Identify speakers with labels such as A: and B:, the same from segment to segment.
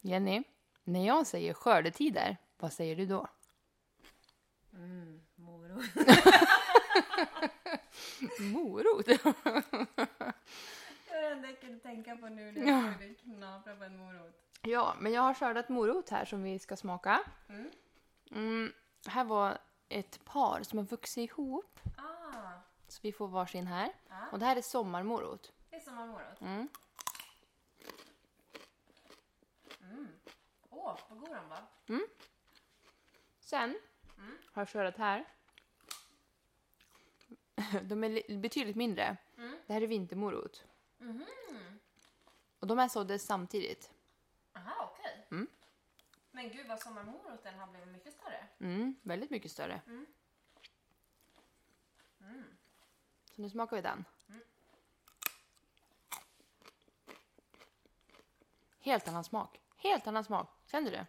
A: Jenny, när jag säger skördetider, vad säger du då?
B: Mm, morot.
A: Morot?
B: Det var det enda jag kunde tänka på nu när jag skulle knapra på en morot.
A: ja, men jag har skördat morot här som vi ska smaka.
B: Mm.
A: Mm, här var ett par som har vuxit ihop,
B: Ah,
A: så vi får varsin här.
B: Ja.
A: Och det här är sommarmorot.
B: det är sommarmorot.
A: Mm.
B: Mm. Åh, vad god den var.
A: Sen
B: Mm.
A: har jag skördat här. De är li- betydligt mindre.
B: Mm.
A: Det här är vintermorot.
B: Mhm.
A: Mm-hmm. Och de här såddes samtidigt.
B: Aha, okej.
A: Mm.
B: Men gud vad sommarmoroten har blivit mycket större.
A: Mm, väldigt mycket större.
B: Mm.
A: Mm. Så nu smakar vi den. Helt annan smak. Helt annan smak. Känner du det?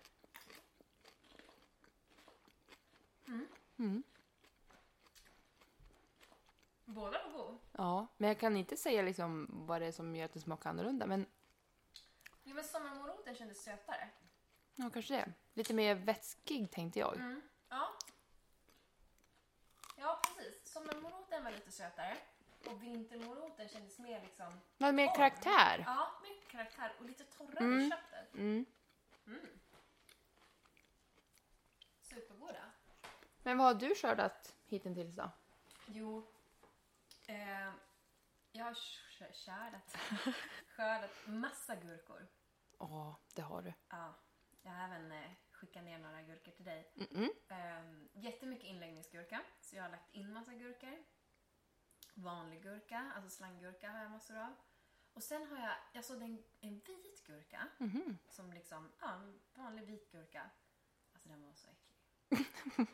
B: Båda var god.
A: Ja, men jag kan inte säga liksom vad det är som gör att den smakar annorlunda. Men
B: Jo, men sommarmoroten kändes sötare.
A: ja, kanske det. Lite mer vätskig tänkte jag.
B: Mm. Ja. Ja, precis. Sommarmoroten var lite sötare. Och vintermoroten kändes mer liksom...
A: Men mer
B: Oj.
A: karaktär.
B: Ja, mer karaktär och lite torrare i
A: Mm.
B: köttet.
A: Mm.
B: Supergoda.
A: Men vad har du skördat hittills då?
B: Jo. Eh, jag har sk- skördat, skördat massa gurkor.
A: Ja, det har du.
B: Ja, jag har även eh, skickat ner några gurkor till dig.
A: Mm-mm.
B: Eh, jättemycket inläggningsgurka, så jag har lagt in massa gurkor. Vanlig gurka, alltså slanggurka har jag massor av. Och sen har jag, jag såg en, en vit gurka,
A: Mhm.
B: som liksom, ja, en vanlig vit gurka. Alltså den var så äcklig.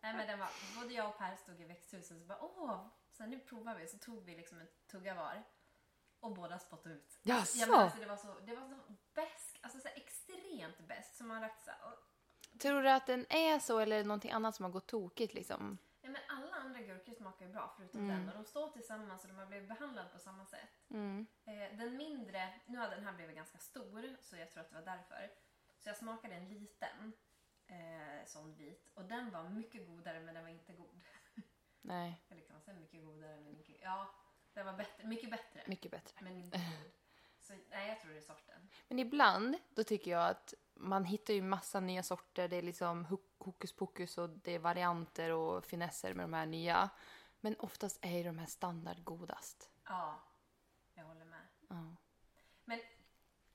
B: Nej men den var, både jag och Per stod i växthuset och så bara åh, så nu provar vi. Så tog vi liksom en tugga var. Och båda spottade ut.
A: Jaså?
B: Jag menar, alltså, det var så, det var så bäst, alltså så här, extremt bäst som man lagt så här, "Åh."
A: Tror du att den är så eller är det någonting annat som har gått tokigt liksom?
B: Nej men alla andra gurkor smakar ju bra förutom
A: Mm.
B: den och de står tillsammans och de har blivit behandlade på samma sätt.
A: Mm.
B: Eh, den mindre, nu har den här blivit ganska stor så jag tror att det var därför. Så jag smakade en liten eh, sån vit och den var mycket godare men den var inte god.
A: Nej,
B: Eller kan man säga mycket godare men mycket, ja. Den var bättre, mycket bättre
A: mycket bättre.
B: men inte god. Så nej jag tror det är sorten.
A: Men ibland, då tycker jag att man hittar ju massa nya sorter. Det är liksom ho- hokus pokus och det är varianter och finesser med de här nya. Men oftast är ju de här standard godast.
B: Ja, jag håller med.
A: Ja.
B: Men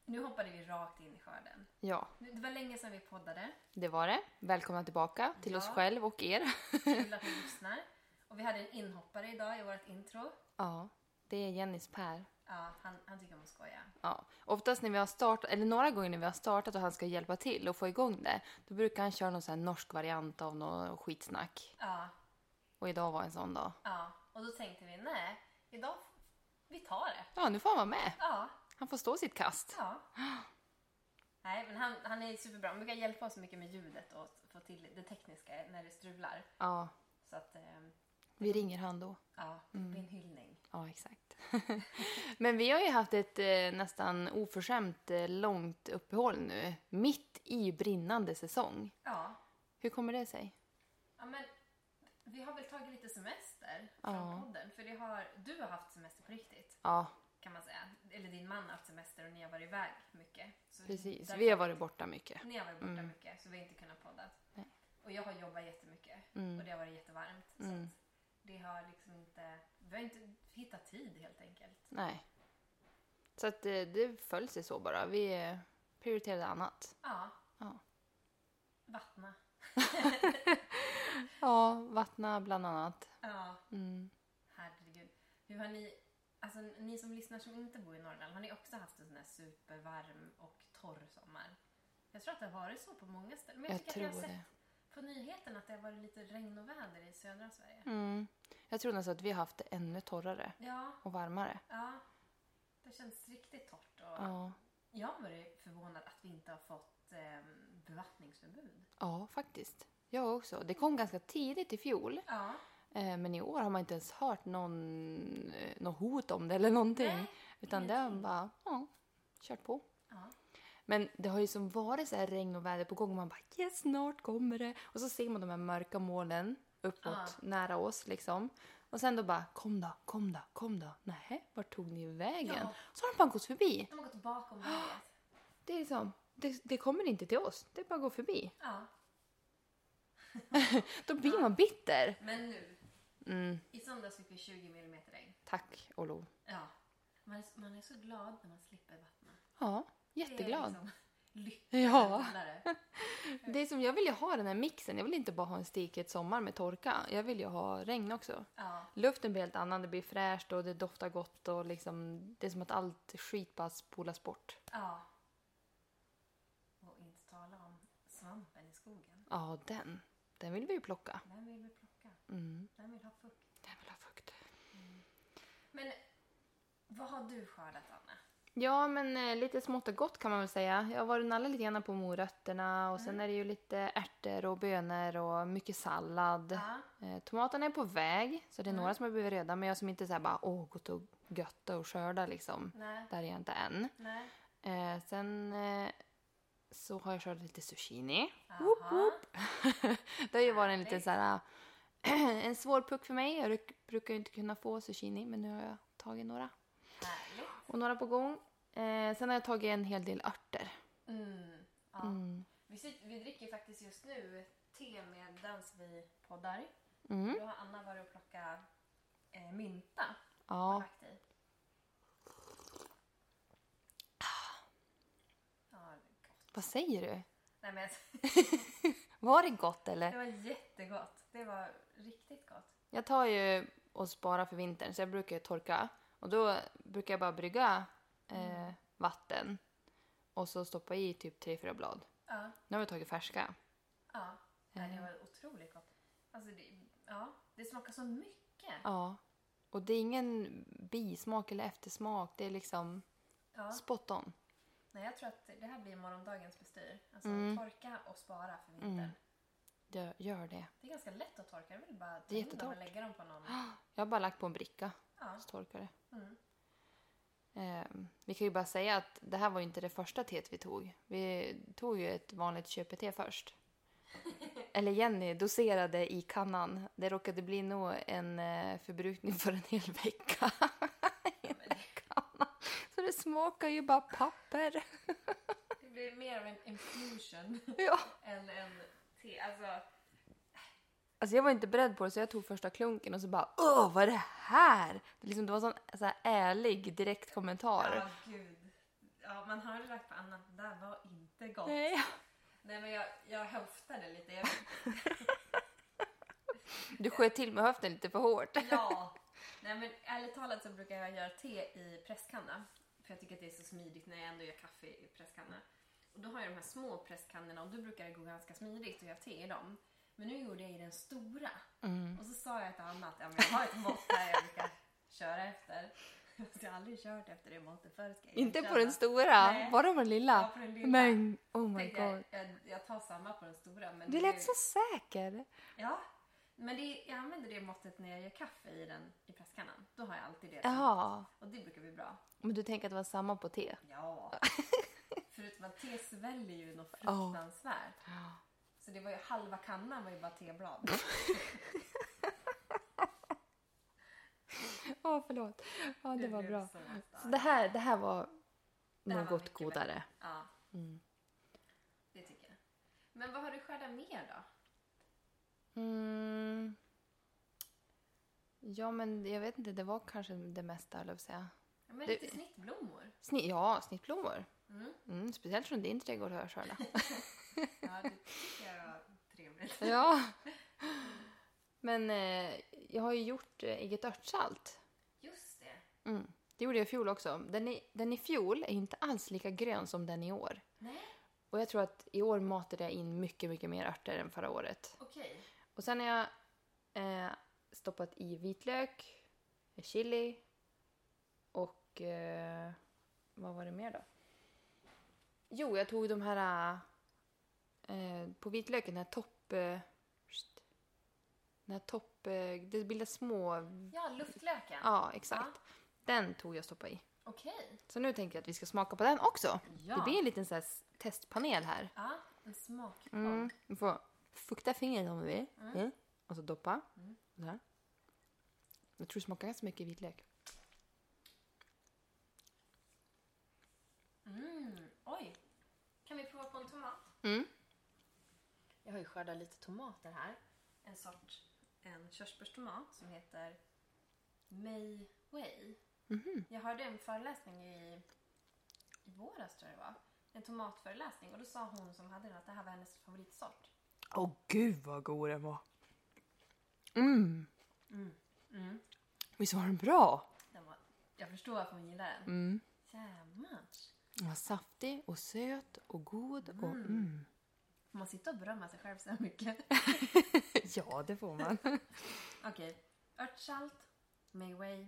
B: nu hoppade vi rakt in i skörden.
A: ja,
B: Nu- Det var länge sedan vi poddade.
A: det var det. Välkomna tillbaka till oss
B: Ja.
A: själv och er.
B: Kul att ni lyssnar. Och vi hade en inhoppare idag i vårt intro.
A: Ja, det är Jennys Per.
B: Ja, han, han tycker om att skoja.
A: Ja, oftast när vi har startat, eller några gånger när vi har startat och han ska hjälpa till och få igång det, då brukar han köra någon sån här norsk variant av någon skitsnack.
B: Ja,
A: Och idag var en sån dag.
B: ja. Och då tänkte vi, nej, idag, f- vi tar det.
A: Ja, nu får han vara med.
B: Ja,
A: Han får stå sitt kast.
B: ja. Nej, men han, han är superbra. Han brukar hjälpa oss mycket med ljudet och få till det tekniska när det strular.
A: Ja,
B: Så att, ehm,
A: vi ringer han då.
B: ja, det blir en hyllning.
A: Ja, exakt. Men vi har ju haft ett eh, nästan oförskämt eh, långt uppehåll nu. Mitt i brinnande säsong.
B: Ja,
A: Hur kommer det sig?
B: ja men vi har väl tagit lite semester
A: Ja.
B: från podden. För det har, du har haft semester på riktigt.
A: Ja,
B: kan man säga. Eller din man har haft semester och ni har varit iväg mycket. Så
A: precis.
B: därför-
A: Vi har varit borta mycket.
B: Ni har varit borta
A: Mm.
B: mycket så vi har inte kunnat podda.
A: Nej.
B: Och jag har jobbat jättemycket
A: Mm.
B: och det har varit jättevarmt.
A: Mm.
B: Så att det har liksom inte, vi har inte hittat tid helt enkelt.
A: Nej. Så att det, det föll sig så bara. Vi eh, prioriterade annat.
B: Ja.
A: Ja.
B: Vattna.
A: Ja, vattna bland annat.
B: Ja,
A: Mm.
B: herregud. Hur har ni, alltså ni som lyssnar som inte bor i Norrland, har ni också haft en sån här supervarm och torr sommar? Jag tror att det har varit så på många ställen. Men jag,
A: Jag
B: tycker att jag
A: tror
B: har sett
A: det.
B: på nyheterna att det har varit lite regn och väder i södra Sverige.
A: Mm. Jag tror nästan att vi har haft det ännu torrare
B: Ja,
A: och varmare.
B: Ja, det känns riktigt torrt. Och
A: Ja,
B: Jag har varit förvånad att vi inte har fått eh, bevattningsförbud.
A: ja faktiskt. Jag också. Det kom ganska tidigt i fjol.
B: Ja,
A: Eh, Men i år har man inte ens hört någon, eh, något hot om det eller någonting.
B: Nej,
A: Utan det har
B: ingenting.
A: bara, ja, kört på.
B: ja.
A: Men det har ju som varit så här regn och väder på gång och man bara yes, snart kommer det. Och så ser man de här mörka molnen uppåt
B: Ah.
A: nära oss liksom. Och sen då bara kom då, kom då, kom då. Nej, vart tog ni vägen?
B: Ja.
A: Så har de bara gått förbi.
B: De har gått bakom berget.
A: Det är liksom, det, det kommer inte till oss. Det bara går förbi.
B: Ja.
A: Då blir man bitter.
B: Men nu,
A: Mm,
B: i söndags fick vi 20 mm regn.
A: tack och lov.
B: Ja. Man är, man är så glad när man slipper vattna.
A: Ja,
B: Det är
A: jätteglad.
B: Liksom lyckligt
A: Ja.
B: kallare.
A: Det är som, jag vill ju ha den här mixen. Jag vill inte bara ha en stiket sommar med torka. Jag vill ju ha regn också.
B: ja.
A: Luften blir helt annan, det blir fräscht och det doftar gott och liksom, det är som att allt skit bara spolas bort.
B: Ja. Och inte tala om svampen i skogen.
A: Ja, den. Den vill vi ju plocka.
B: Den vill vi plocka.
A: Mm.
B: Den vill ha fukt.
A: Den vill ha fukt.
B: Men vad har du skördat, Anna?
A: Ja, men eh, lite smått och gott kan man väl säga. Jag har varit och nallat lite grann på morötterna och
B: Mm.
A: sen är det ju lite ärtor och bönor och mycket sallad.
B: Ja.
A: Eh, tomaterna är på väg, så det är
B: Mm.
A: några som har blivit röda men jag som inte säger bara åh, gott och gött och skörda liksom.
B: Nej.
A: Där är jag inte än.
B: Nej.
A: Eh, sen eh, så har jag skördat lite zucchini. Woop,
B: Aha.
A: woop. det har ju varit en liten
B: Härligt.
A: så här, en svår puck för mig. Jag ruk- brukar ju inte kunna få zucchini men nu har jag tagit några.
B: Härligt.
A: Och några på gång. Eh, sen har jag tagit en hel del örter.
B: Mm. Ja.
A: Mm.
B: Vi, sit- vi dricker faktiskt just nu te medans vi poddar.
A: Mm.
B: Då har Anna varit och plockat eh, mynta och
A: Ja,
B: lagt i. Ah. Ja, det är gott.
A: vad säger du?
B: Nej, men
A: Var det gott
B: det
A: eller?
B: var jättegott. Det var riktigt gott.
A: Jag tar ju och sparar för vintern så jag brukar ju torka. Och då brukar jag bara brygga eh, vatten och så stoppa i typ tre fyra blad.
B: Ja,
A: Nu har vi tagit färska.
B: ja. Nej,
A: Mm.
B: det var otroligt gott. Alltså, det, ja, det smakar så mycket.
A: Ja. Och det är ingen bismak eller eftersmak. Det är liksom
B: Ja.
A: spot on.
B: Nej, jag tror att det här blir morgondagens bestyr. Alltså
A: Mm.
B: torka och spara för vintern.
A: Mm. Gör, gör det.
B: Det är ganska lätt att torka. Det är väl bara att
A: Det är
B: ta in dem och
A: jättetorrt.
B: lägga dem på någon.
A: Jag har bara lagt på en bricka
B: Ja.
A: så torkar det.
B: Mm.
A: Ehm, vi kan ju bara säga att det här var ju inte det första teet vi tog. Vi tog ju ett vanligt köpete först. Eller Jenny doserade i kannan. Det råkade bli nog en eh, förbrukning för en hel vecka.
B: Ja, men det-
A: Så det smakar ju bara papper.
B: Det blir mer av en infusion
A: Ja.
B: än en te. Alltså,
A: Alltså jag var inte beredd på det så jag tog första klunken och så bara Åh, vad är det här? Det, liksom, det var en sån så här ärlig direkt kommentar.
B: ja gud. Ja, man har ju lagt på annat. Det där var inte gott. Nej,
A: Nej.
B: men jag, jag höftade lite. Jag,
A: Du sköt till med höften lite för hårt.
B: ja. Nej, men ärligt talat så brukar jag göra te i presskanna. För jag tycker att det är så smidigt när jag ändå gör kaffe i presskanna. Och då har jag de här små presskannorna och då brukar det gå ganska smidigt att göra te i dem. Men nu gjorde jag i den stora.
A: Mm.
B: Och så sa jag till Anna att ja, men jag har ett mått här jag brukar köra efter. Fast Jag har aldrig kört efter det måttet förut. ska jag
A: Inte på
B: erkänna.
A: den stora,
B: Nej.
A: bara på den
B: Ja,
A: lilla.
B: på den lilla.
A: Men oh my
B: Tänkte jag,
A: god.
B: jag, jag tar samma på den stora. Men
A: Du
B: är-
A: lät så säker.
B: Ja. Men det, jag använder det måttet när jag gör kaffe i den i presskannan. Då har jag alltid det.
A: Jaha.
B: Och det brukar bli bra.
A: Men du tänker att det var samma på te?
B: Ja. Förutom att te sväljer ju något
A: Ja.
B: fruktansvärt. Så det var ju halva kannan var ju bara teblad.
A: Ja, förlåt. Ja, det var
B: blev
A: bra.
B: så starkt.
A: Så det här, det här var
B: här var
A: något
B: mycket
A: godare.
B: Ja.
A: Mm.
B: Det tycker jag. Men vad har du skördat mer då?
A: Mm. Ja, men jag vet inte, det var kanske det mesta, höll jag på att säga.
B: Ja, men
A: Det-
B: lite snittblommor.
A: Sni- ja, snittblommor.
B: Mm.
A: Mm, speciellt från din trädgård, hör jag Sörla.
B: Ja, det tycker jag var trevligt.
A: Ja. Men eh, jag har ju gjort eh, eget örtsalt.
B: Just det.
A: Mm. Det gjorde jag i fjol också. Den i, den i fjol är inte alls lika grön som den i år.
B: Nej,
A: Och jag tror att i år matade jag in mycket, mycket mer örter än förra året.
B: okej.
A: Och sen har jag eh, stoppat i vitlök, chili och... Eh, vad var det mer då? Jo, jag tog de här... Eh, på vitlöken, den här topp... Eh, st- den här topp... Eh, det bildas små...
B: Ja, luftlöken.
A: Ja, exakt. Den tog jag och stoppade i.
C: Okej.
A: Så nu tänker jag att vi ska smaka på den också.
C: Ja.
A: Det blir en liten så här s- testpanel här.
C: Ja, en smakboll.
A: Mm. Du får fukta fingret om du vill. Mm. Och så doppa. Så här. Jag tror det smakar ganska mycket vitlök.
C: Mm, oj! Kan vi prova på en tomat?
A: Mm.
C: Jag har ju skördat lite tomater här. En sorts en körsbärstomat som heter Mei Wei. Jag hörde en föreläsning i, i våras tror jag det var. En tomatföreläsning och då sa hon som hade den att det här var hennes favoritsort.
A: Åh gud vad god den var! Mm. Mm. Visst var den bra?
C: Den var, jag förstår varför hon gillar den.
A: Mm.
C: Jävlar!
A: Den var saftig och söt och god och mm.
C: Får man sitta och berömma sig själv så mycket?
A: Ja, det får man.
C: Okej. Örtsalt, Mei Wei.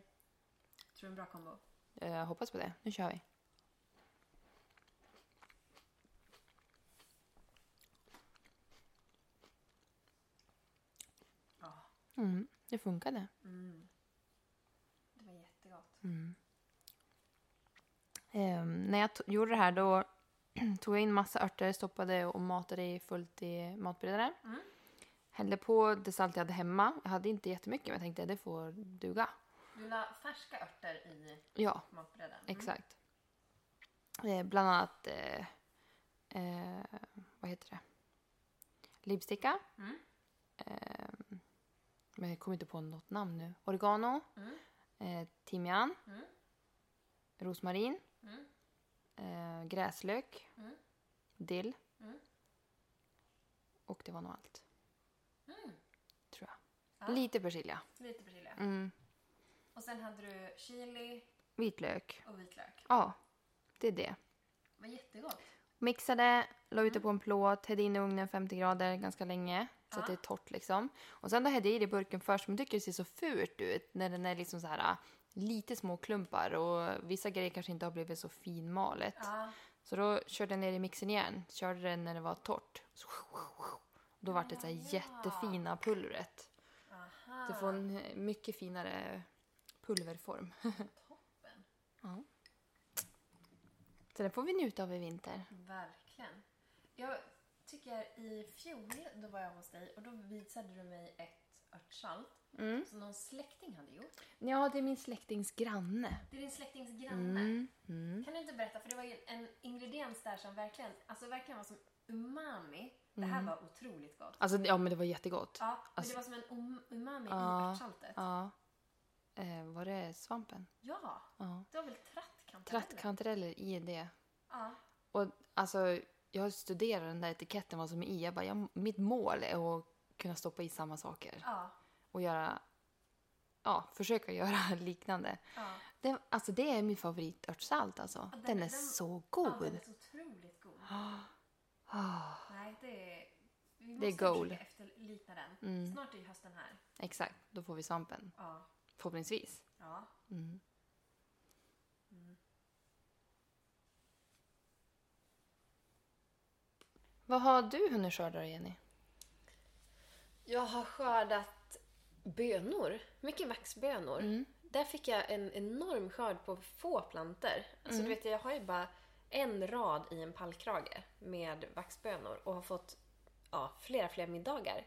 C: Tror du en bra kombo?
A: Jag Eh, hoppas på det. Nu kör vi.
C: Ja.
A: Mm. Det funkade. Mm.
C: Det var jättegott.
A: Ehm, när jag to- gjorde det här då tog jag in massa örter, stoppade och matade i fullt i matberedaren.
C: Mm.
A: Hällde på det salt jag hade hemma. Jag hade inte jättemycket men jag tänkte det får duga.
C: Du la färska örter i
A: Ja,
C: matbredden. Mm.
A: exakt. Eh, bland annat, eh, eh, vad heter det? Lipsticka.
C: Mm.
A: Ehm, men jag kommer inte på något namn nu. Oregano.
C: Mm.
A: Eh, timian.
C: Mm.
A: Rosmarin.
C: Mm.
A: Eh, gräslök.
C: Mm.
A: Dill.
C: Mm.
A: Och det var nog allt.
C: Mm.
A: Tror jag.
C: Ja.
A: Lite persilja.
C: Lite persilja.
A: Mm.
C: Och sen hade du chili
A: Vitlök.
C: och vitlök.
A: Ja, det är det.
C: Det var jättegott.
A: Mixade, la
C: Mm.
A: ut det på en plåt, hällde in i ugnen 50 grader ganska länge. Så att det är
C: Ja.
A: torrt liksom. Och sen då hällde jag i det i burken först, men jag tycker det ser så fult ut när den är liksom så här ah, lite små klumpar och vissa grejer kanske inte har blivit så finmalet.
C: Ja.
A: Så då körde jag ner i mixen igen, körde den när det var torrt. Så- Då var det så här
C: Ah, Ja.
A: jättefina pulvret.
C: Aha.
A: Du får
C: Ah.
A: en eh, mycket finare pulverform.
C: Toppen.
A: Så den får vi njuta av i vinter.
C: Verkligen. Jag tycker i fjol, då var jag hos dig och då visade du mig ett örtsalt som någon släkting hade gjort.
A: Ja, det är min släktings granne.
C: Det är din släktings granne.
A: Mm.
C: Kan du inte berätta, för det var ju en ingrediens där som verkligen, alltså verkligen var som umami. Det
A: Mm.
C: här var otroligt gott.
A: Alltså, ja men det var jättegott.
C: Ja, men
A: Alltså-
C: det var som en um- umami
A: Ja,
C: i örtsaltet.
A: Ja. Eh, var det svampen?
C: Ja,
A: Ja.
C: det var väl trattkantareller?
A: Trattkantareller i det.
C: Ja.
A: Och alltså, jag studerar den där etiketten vad som är i. Jag bara, jag, mitt mål är att kunna stoppa i samma saker.
C: Ja,
A: Och göra, ja, försöka göra liknande.
C: ja.
A: Det, alltså det är min favoritörtsalt alltså.
C: den-
A: Den, är
C: den-
A: så
C: ja, den
A: god.
C: är så otroligt god.
A: Ah,
C: Nej, det är... Vi
A: Det är Mm.
C: måste
A: goal.
C: försöka efterlikna den. Snart är ju hösten här.
A: exakt, då får vi svampen.
C: Ja.
A: Förhoppningsvis.
C: ja.
A: Mm. Vad har du hunnit skörda då, Jenny?
B: Jag har skördat bönor, mycket maxbönor.
A: Mm.
B: Där fick jag en enorm skörd på få planter. Alltså du vet, jag har ju bara en rad i en pallkrage med vaxbönor och har fått ja, flera, flera middagar.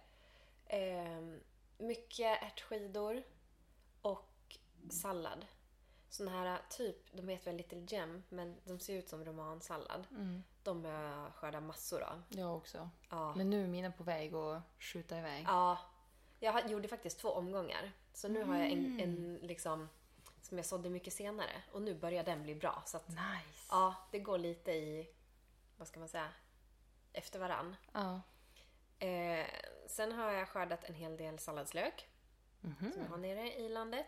B: Ehm, mycket ärtskidor och sallad. Såna här typ, de heter väl Little Gem, men de ser ut som romansallad. De har jag skördat massor av.
A: Mm. Jag också.
B: Ja.
A: Men nu är mina på väg att skjuta iväg.
B: Ja, jag har- gjorde faktiskt två omgångar. Så nu har jag en, en liksom, som jag sådde mycket senare och nu börjar den bli bra. Så att,
A: Nice.
B: ja, det går lite i, vad ska man säga, efter varann.
A: Ja.
B: Eh, sen har jag skördat en hel del salladslök som jag har nere i landet.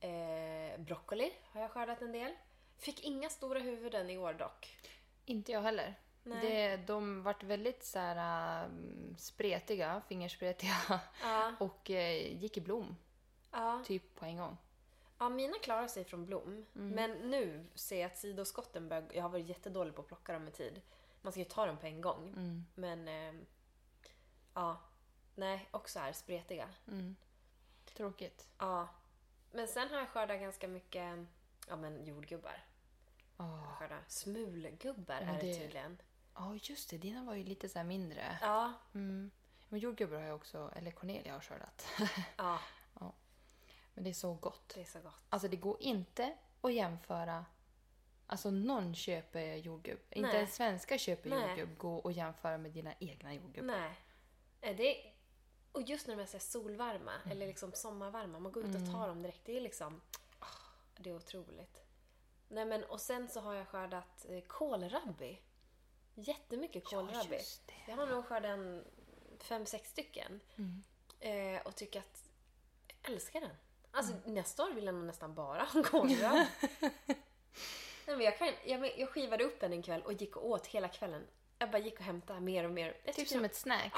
B: Eh, broccoli har jag skördat en del. Fick inga stora huvuden i år dock.
A: Inte jag heller.
B: Nej.
A: Det, de vart väldigt så här, ähm, spretiga, fingerspretiga
B: Ja,
A: och eh, gick i blom
B: ja.
A: typ på en gång.
B: Ja, mina klarar sig från blom. Men nu ser jag att sidoskotten börjar... Jag har varit jättedålig på att plocka dem i tid. Man ska ju ta dem på en gång.
A: Mm.
B: Men... ehm, ja. Nej, också är spretiga.
A: Mm. Tråkigt.
B: Ja. Men sen har jag skördat ganska mycket ja, men jordgubbar.
A: Åh.
B: Skörda. Smulgubbar
A: Men
B: är det
A: det-
B: tydligen.
A: Ja, just det. Dina var ju lite så här mindre.
B: Ja.
A: Mm. Men jordgubbar har jag också, eller Cornelia har skördat.
B: ja,
A: Men det är så gott.
B: det är så gott.
A: Alltså det går inte att jämföra. Alltså någon köper jordgubb. Inte
B: Nej.
A: ens svenska köper
B: Nej.
A: jordgubb. Gå och jämföra med dina egna jordgubbar.
B: Nej. Nej, Det är, och just när de är så här solvarma
A: Mm.
B: eller liksom sommarvarma, man går ut och tar dem direkt. Det är liksom... ah, Det är otroligt. Nej men och sen så har jag skördat eh, kålrabbi. Jättemycket kålrabbi.
A: just det. Mm.
B: jag har nog skördat en fem, sex stycken. Eh, och tycker att... Jag älskar den. Alltså
A: Mm.
B: nästa år vill jag nog nästan bara ha kålrabbi. Nej, men jag, kan, jag, men jag skivade upp den en kväll och gick och åt hela kvällen. Jag bara gick och hämtade mer och mer.
A: Typ
B: Jag tycker
A: som ett snack.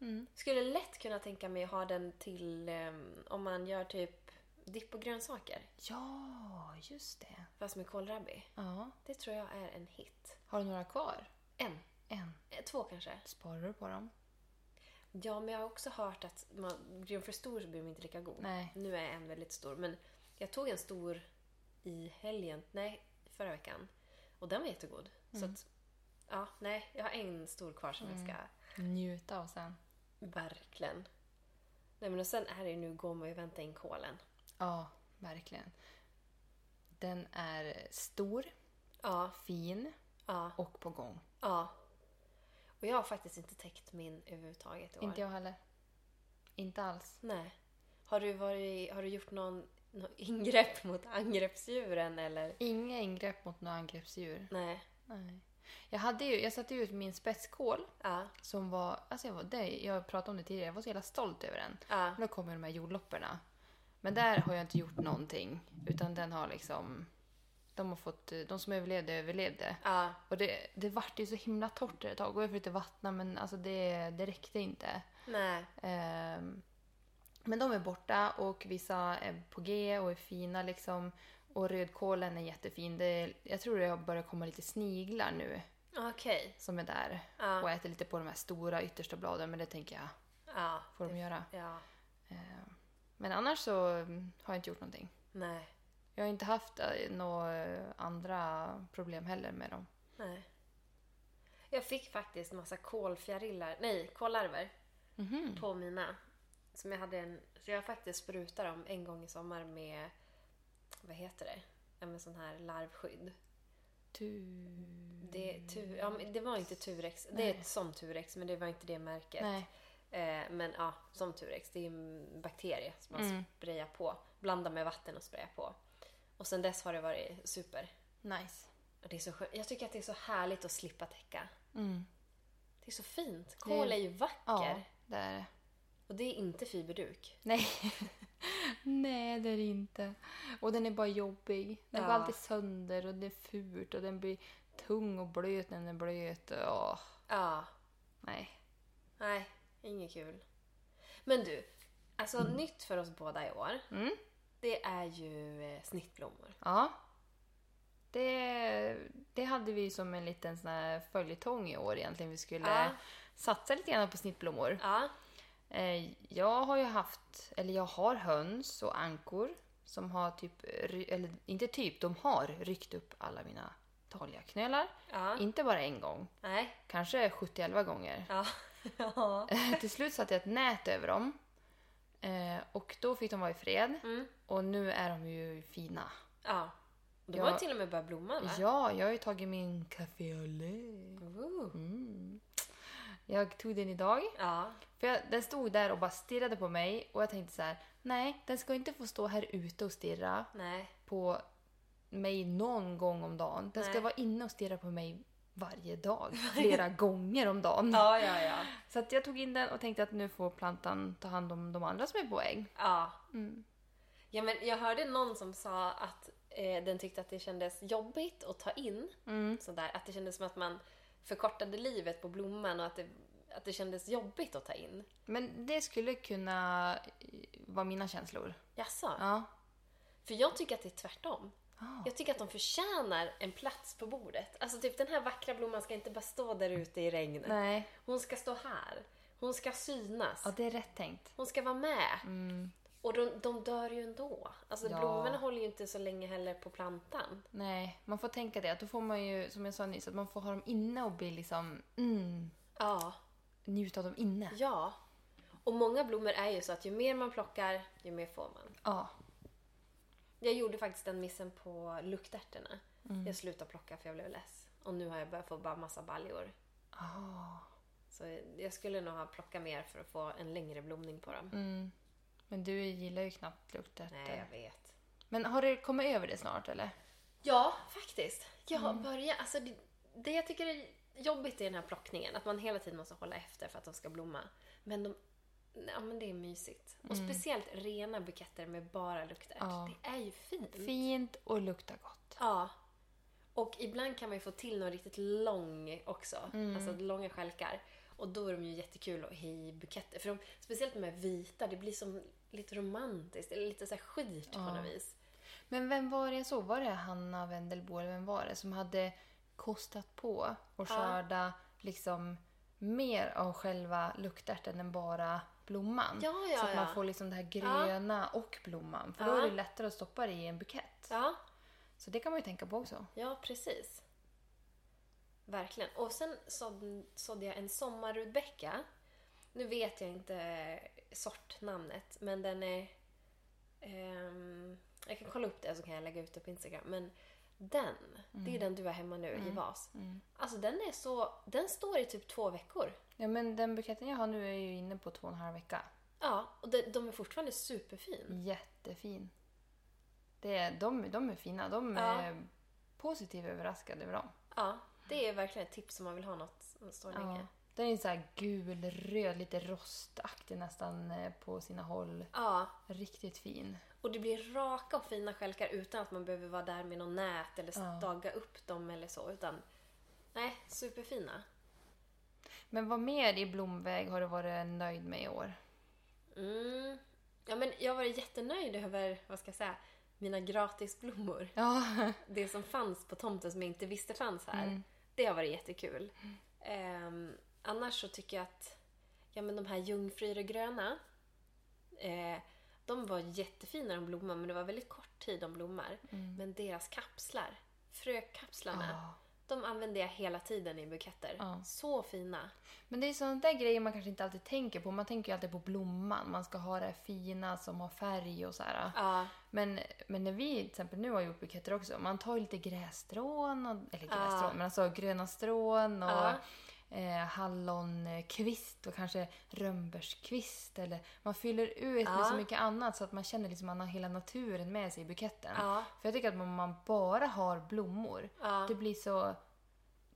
A: Mm.
B: Ja. Skulle lätt kunna tänka mig ha den till ehm, om man gör typ dipp och grönsaker.
A: Ja, just det.
B: Fast med kålrabbi.
A: Ja.
B: Det tror jag är en hit.
A: Har du några kvar?
B: En.
A: En.
B: Eh, Två kanske.
A: Sparar du på dem?
B: Ja, men jag har också hört att man, blir de för stor så blir de inte lika god.
A: Nej.
B: Nu är en väldigt stor. Men jag tog en stor i helgen. Nej, förra veckan. Och den var jättegod. Så att, ja, nej. Jag har en stor kvar som jag ska
A: Njuta och sen.
B: Verkligen. Nej men och sen är det ju nu går man ju vänta in kolen.
A: Ja, verkligen. Den är stor,
B: Ja,
A: fin
B: ja,
A: och på gång.
B: ja. Och jag har faktiskt inte täckt min överhuvudtaget i år.
A: Inte jag heller. Inte alls.
B: Nej. Har du, varit, har du gjort någon, någon ingrepp mot angreppsdjuren eller?
A: Inga ingrepp mot några angreppsdjur.
B: Nej.
A: Nej. Jag, hade ju, jag satte ju ut min spetskål
B: Ja,
A: som var, alltså jag, var det, jag pratade om det tidigare, jag var så jävla stolt över den.
B: ja,
A: Men då kommer de här jordlopperna. Men där har jag inte gjort någonting. Utan den har liksom... De, har fått, de som överlevde, överlevde.
B: ja.
A: Och det, det vart ju så himla torrt ett tag. Och jag försökte vattna men alltså det, det räckte inte.
B: Nej.
A: Ehm, men de är borta och vissa är på G och är fina liksom. Och rödkålen är jättefin. Det, jag tror det har börjat komma lite sniglar nu
B: Okej.
A: som är där.
B: Ja.
A: Och äter lite på de här stora yttersta bladen. Men det tänker jag,
B: Ja.
A: får de göra.
B: Ja.
A: Ehm, Men annars så mm, har jag inte gjort någonting.
B: Nej.
A: Jag har inte haft eh, några andra problem heller med dem.
B: Nej. Jag fick faktiskt massa kolfjärilar, nej, kollarver på mina. Som jag hade en, så jag faktiskt sprutar dem en gång i sommar med, vad heter det? Ja, men sån här larvskydd.
A: Du...
B: Det, är tu, ja, men det var inte Turex, det är som Turex men det var inte det märket.
A: Nej.
B: Eh, men ja, som Turex. Det är en bakterie som
A: Mm.
B: man sprayar på. Blandar med vatten och sprayar på. Och sen dess har det varit super.
A: Nice.
B: Och det är så skönt. Jag tycker att det är så härligt att slippa täcka.
A: Mm.
B: Det är så fint. Kol
A: Det-
B: är ju
A: Ja,
B: vacker.
A: det är det.
B: Och det är inte fiberduk.
A: Nej. Nej, det är det inte. Och den är bara jobbig. Den
B: Ja.
A: går alltid sönder och det är fult och den blir tung och blöt när den är blöt. Åh,
B: Ja.
A: nej.
B: Nej, inget kul. Men du, alltså nytt för oss båda i år.
A: Mm.
B: Det är ju eh, snittblommor.
A: Ja. Det, det hade vi som en liten sån här följetong i år egentligen. Vi skulle
B: Ja.
A: satsa lite grann på snittblommor.
B: Ja.
A: Eh, Jag har ju haft, eller jag har höns och ankor som har typ, ry- eller inte typ, de har ryckt upp alla mina dahliaknölar.
B: Ja.
A: Inte bara en gång,
B: Nej.
A: kanske 70-11 gånger.
B: Ja. ja.
A: Till slut satte jag ett nät över dem. Eh, Och då fick de vara i fred.
B: Mm.
A: Och nu är de ju fina.
B: ja. Du
A: Ja.
B: har ju till och med börjat blomma va?
A: Ja, jag har ju tagit min café au lait.
B: Ooh.
A: Mm. Jag tog den idag.
B: Ja.
A: För jag, den stod där och bara stirrade på mig och jag tänkte så här: nej, den ska inte få stå här ute och stirra
B: Nej.
A: på mig någon gång om dagen. Den ska
B: Nej.
A: vara inne och stirra på mig varje dag, flera gånger om dagen.
B: Ja, ja, ja.
A: Så att jag tog in den och tänkte att nu får plantan ta hand om de andra som är på väg.
B: Ja.
A: Mm.
B: ja men jag hörde någon som sa att eh, den tyckte att det kändes jobbigt att ta in.
A: Mm.
B: Sådär, att det kändes som att man förkortade livet på blomman och att det, att det kändes jobbigt att ta in.
A: Men det skulle kunna eh, vara mina känslor.
B: Jaså?
A: Ja.
B: För jag tycker att det är tvärtom.
A: Ah.
B: Jag tycker att de förtjänar en plats på bordet. Alltså typ den här vackra blomman ska inte bara stå där ute i regnet.
A: Nej,
B: Hon ska stå här. Hon ska synas.
A: ja, det är rätt tänkt.
B: Hon ska vara med. Och de, de dör ju ändå. Alltså
A: Ja.
B: blommorna håller ju inte så länge heller på plantan.
A: Nej, man får tänka det. Att då får man ju, som jag sa nyss, att man får ha dem inne och bli liksom, mm,
B: Ja.
A: njuta av dem inne.
B: Ja. Och många blommor är ju så att ju mer man plockar, ju mer får man.
A: Ja.
B: Jag gjorde faktiskt den missen på luktärtorna. Jag slutade plocka för jag blev less. Och nu har jag börjat få bara massa baljor.
A: Ah.
B: Så jag skulle nog ha plockat mer för att få en längre blomning på dem.
A: Mm. Men du gillar ju knappt luktärtor.
B: Nej, jag vet.
A: Men har du kommit över det snart eller?
B: Ja, faktiskt. Jag har börjat... Alltså, det, det jag tycker är jobbigt i den här plockningen, att man hela tiden måste hålla efter för att de ska blomma. Men de... Ja, men det är mysigt. Och speciellt rena buketter med bara luktärt.
A: Ja.
B: Det är ju fint.
A: Fint och luktar gott.
B: Ja. Och ibland kan man ju få till någon riktigt lång också. Alltså långa stjälkar. Och då är de ju jättekul att ha i buketter. För de, speciellt de här vita, det blir som lite romantiskt. Eller lite så här skit på något vis.
A: Men vem var det jag såg? Var det Hanna Wendelbo eller vem var det som hade kostat på och skörda liksom mer av själva luktärten än bara blomman?
B: Ja, ja,
A: så att
B: ja.
A: man får liksom det här gröna och blomman. För då
B: Ja.
A: är det lättare att stoppa det i en bukett.
B: Ja,
A: Så det kan man ju tänka på också.
B: Ja, precis. Verkligen. Och sen sådd- sådde jag en sommarrudbecka. Nu vet jag inte sortnamnet, men den är... ehm, jag kan kolla upp det så kan jag lägga ut det på Instagram. Men den, det är den du har hemma nu i vas.
A: Mm.
B: Alltså den är så... Den står i typ två veckor.
A: Ja, men den buketten jag har nu är ju inne på två och en halv vecka.
B: Ja, och de, de är fortfarande
A: Mm.
B: superfin.
A: Jättefin. Det är, de, de är fina. De
B: Ja.
A: är positivt överraskade över dem.
B: Ja, det är verkligen ett tips om man vill ha något som står länge.
A: Ja. Den är så här gulröd, lite rostaktig nästan eh, på sina håll.
B: Ja,
A: Riktigt fin.
B: Och det blir raka och fina stjälkar utan att man behöver vara där med någon nät eller
A: Ja.
B: staga upp dem eller så. Utan, nej, superfina.
A: Men vad mer i blomväg har du varit nöjd med i år?
B: Mm. Ja, men jag var jättenöjd över, vad ska jag säga, mina gratisblommor.
A: Ja,
B: Det som fanns på tomten som jag inte visste fanns här.
A: Mm.
B: Det har varit jättekul. Ehm, annars så tycker jag att ja, men de här jungfrur och gröna, eh, de var jättefina när de blommade men det var väldigt kort tid de blommar. Men deras kapslar, frökapslarna,
A: Mm. Ja.
B: De använder jag hela tiden i buketter.
A: Ja.
B: Så fina.
A: Men det är sådana där grejer man kanske inte alltid tänker på. Man tänker ju alltid på blomman. Man ska ha det här fina som har färg och så här.
B: Ja,
A: Men, men när vi till exempel nu har gjort buketter också, man tar ju lite grässtrån, och, eller
B: Ja.
A: grässtrån, men alltså gröna strån och
B: Ja.
A: eh, hallonkvist och kanske rönnbärskvist. Eller, man fyller ut
B: Ja.
A: med så mycket annat så att man känner liksom att man har hela naturen med sig i buketten.
B: Ja.
A: För jag tycker att om man bara har blommor,
B: Ja.
A: det blir så...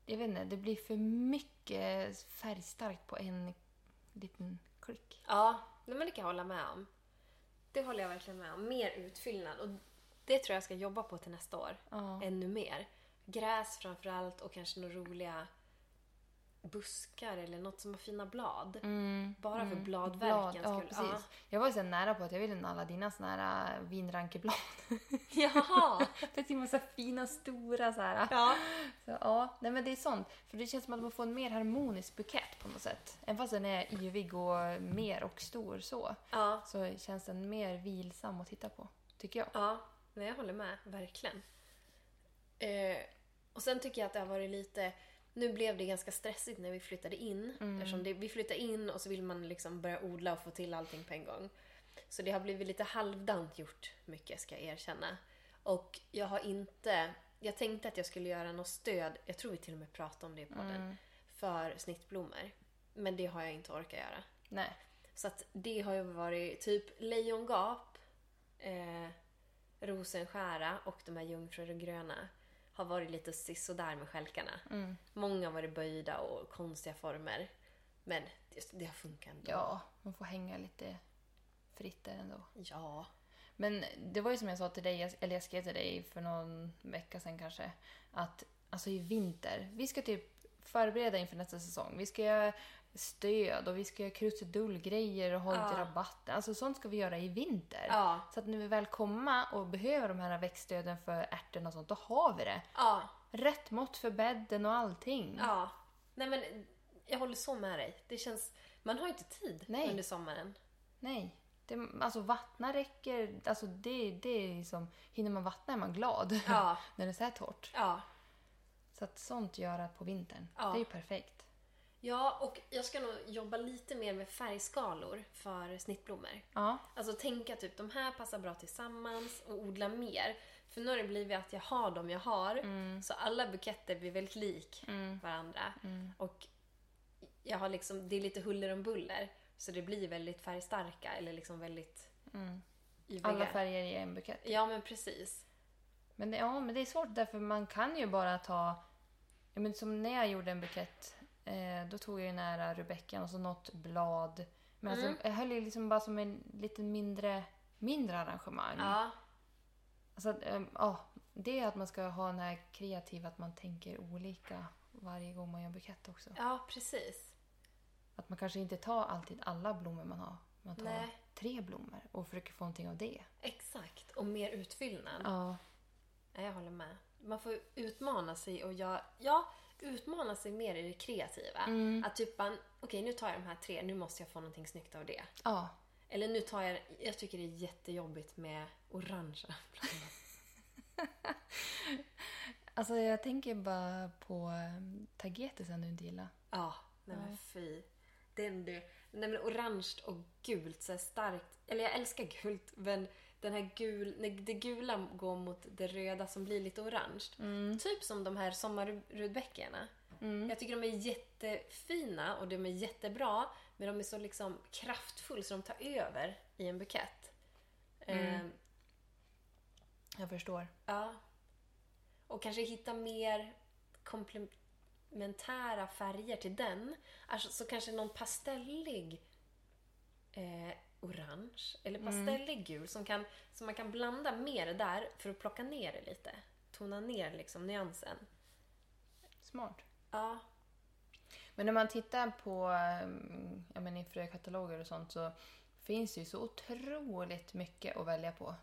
A: Jag vet inte, det blir för mycket färgstarkt på en liten klick.
B: ja. Nej, men det kan jag hålla med om. Det håller jag verkligen med om. Mer utfyllnad. Och det tror jag ska jobba på till nästa år.
A: Ja.
B: Ännu mer. Gräs framförallt och kanske några roliga buskar eller något som har fina blad.
A: Mm.
B: Bara för
A: Blad,
B: bladverkens
A: ja,
B: skull.
A: precis. Jag var så nära på att jag ville en Aladdin sån här äh, vinrankeblad.
B: Ja. Jaha!
A: det är så fina, stora så här.
B: Ja.
A: Så, ja, nej men det är sånt. För det känns som att man får en mer harmonisk bukett på något sätt. Även fast den är yvig och mer och stor så,
B: ja.
A: så känns den mer vilsam att titta på. Tycker jag.
B: Ja, nej, jag håller med. Verkligen. Eh, och sen tycker jag att det har varit lite... Nu blev det ganska stressigt när vi flyttade in. Eftersom det, vi flyttade in och så vill man liksom börja odla och få till allting på en gång. Så det har blivit lite halvdant gjort mycket, ska jag erkänna. Och jag har inte... Jag tänkte att jag skulle göra något stöd, jag tror vi till och med pratade om det i podden, för snittblommor. Men det har jag inte orkat göra.
A: Nej.
B: Så att det har ju varit typ lejongap, eh, rosenskära och de här jungfrur och gröna har varit lite sisådär med stjälkarna.
A: Mm.
B: Många har varit böjda och konstiga former. Men det, det har funkat ändå.
A: Ja, man får hänga lite fritt där ändå.
B: Ja.
A: Men det var ju som jag sa till dig, jag- eller jag skrev till dig för någon vecka sedan kanske, att alltså i vinter, vi ska typ förbereda inför nästa säsong. Vi ska göra stöd och vi ska göra krusidullgrejer och ha lite
B: Ja.
A: rabatter. Alltså sånt ska vi göra i vinter.
B: Ja.
A: Så att när vi väl kommer och behöver de här växtstöden för ärtorna och sånt, då har vi det.
B: Ja.
A: Rätt mått för bädden och allting.
B: ja. Nej men jag håller så med dig. Det känns... Man har ju inte tid
A: Nej.
B: under sommaren.
A: Nej. Det, alltså vattna räcker, alltså det, det är liksom, hinner man vattna är man glad
B: Ja.
A: när det är så här torrt.
B: Ja.
A: Så att sånt göra på vintern,
B: Ja.
A: det är ju perfekt.
B: ja, och jag ska nog jobba lite mer med färgskalor för snittblommor.
A: Ja,
B: Alltså tänka typ de här passar bra tillsammans och odla mer. För nu har det blivit att jag har de jag har.
A: Mm.
B: Så alla buketter blir väldigt lik varandra.
A: Mm.
B: Och jag har liksom, det är lite huller om buller. Så det blir väldigt färgstarka eller liksom väldigt yviga.
A: Mm. alla färger i en bukett.
B: Ja men precis.
A: Men det, ja, men det är svårt därför man kan ju bara ta... Ja, men som när jag gjorde en bukett, eh, då tog jag ju nära rubeckan och så något blad. Men
B: Mm.
A: alltså, jag höll ju liksom bara som en lite mindre, mindre arrangemang.
B: Ja.
A: Alltså, att, eh, ja, det är att man ska ha den här kreativa, att man tänker olika varje gång man gör en bukett också.
B: ja, precis.
A: Att man kanske inte tar alltid alla blommor man har. Man tar
B: Nej.
A: tre blommor och försöker få någonting av det.
B: Exakt. Och mer utfyllnad.
A: Ja.
B: Nej, jag håller med. Man får utmana sig och göra, ja, utmana sig mer i det kreativa. Att typ bara, okej nu tar jag de här tre, nu måste jag få någonting snyggt av det.
A: ja.
B: Eller nu tar jag, jag tycker det är jättejobbigt med orangea blommor.
A: Alltså jag tänker bara på eh, tagetesen du inte gillar.
B: Ja, nej men fy. Den du. Nej men orange och gult så här starkt. Eller jag älskar gult men den här gul, när det gula går mot det röda som blir lite orange.
A: Mm,
B: Typ som de här sommarrudbeckorna. Jag tycker de är jättefina och de är jättebra men de är så liksom kraftfulla så de tar över i en bukett.
A: Mm.
B: Ehm,
A: Jag förstår.
B: Ja. Och kanske hitta mer komplementära färger till den. Alltså, så kanske någon pastellig eh, orange
A: Mm.
B: eller pastellig gul som, kan, som man kan blanda med det där för att plocka ner det lite. Tona ner liksom nyansen.
A: Smart.
B: Ja.
A: Men när man tittar på mm, ja, men i frökataloger och sånt så finns det ju så otroligt mycket att välja på.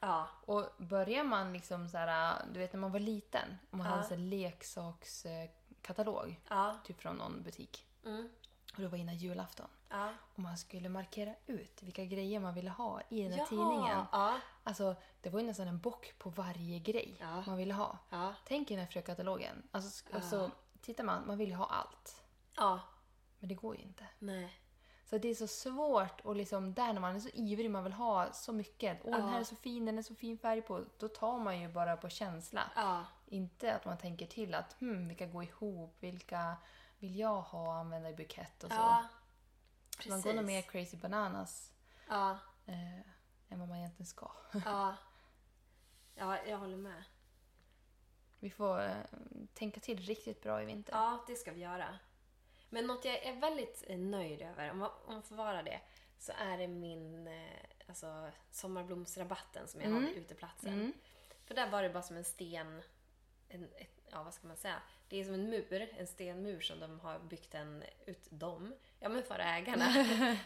B: Ja.
A: Och börjar man liksom så här, du vet när man var liten och man
B: Ja.
A: hade en leksakskatalog,
B: Ja.
A: typ från någon butik.
B: Mm.
A: Och det var innan julafton.
B: Ja.
A: Och man skulle markera ut vilka grejer man ville ha i den här
B: Jaha.
A: tidningen.
B: Ja.
A: Alltså, det var ju nästan en bock på varje grej
B: Ja.
A: man ville ha.
B: Ja.
A: Tänk i den här frökatalogen. Alltså, sk- och så tittar man, man vill ju ha allt.
B: Ja.
A: Men det går ju inte.
B: Nej.
A: Så det är så svårt och liksom där när man är så ivrig, man vill ha så mycket. Åh, den här är så fin, den är så fin färg på. Då tar man ju bara på känsla.
B: Ja.
A: Inte att man tänker till att hmm, vilka går ihop, vilka vill jag ha och använda i bukett och så.
B: Ja.
A: man går nog mer crazy bananas
B: Ja.
A: eh, än vad man egentligen ska.
B: Ja. Ja, jag håller med.
A: Vi får eh, tänka till riktigt bra i vinter.
B: Ja, det ska vi göra. Men något jag är väldigt eh, nöjd över, om man, om man får vara det, så är det min eh, alltså, sommarblomsrabatten som jag har vid uteplatsen. För där var det bara som en sten, en, ett, ja vad ska man säga, det är som en mur, en stenmur som de har byggt en, ut de, ja men för ägarna,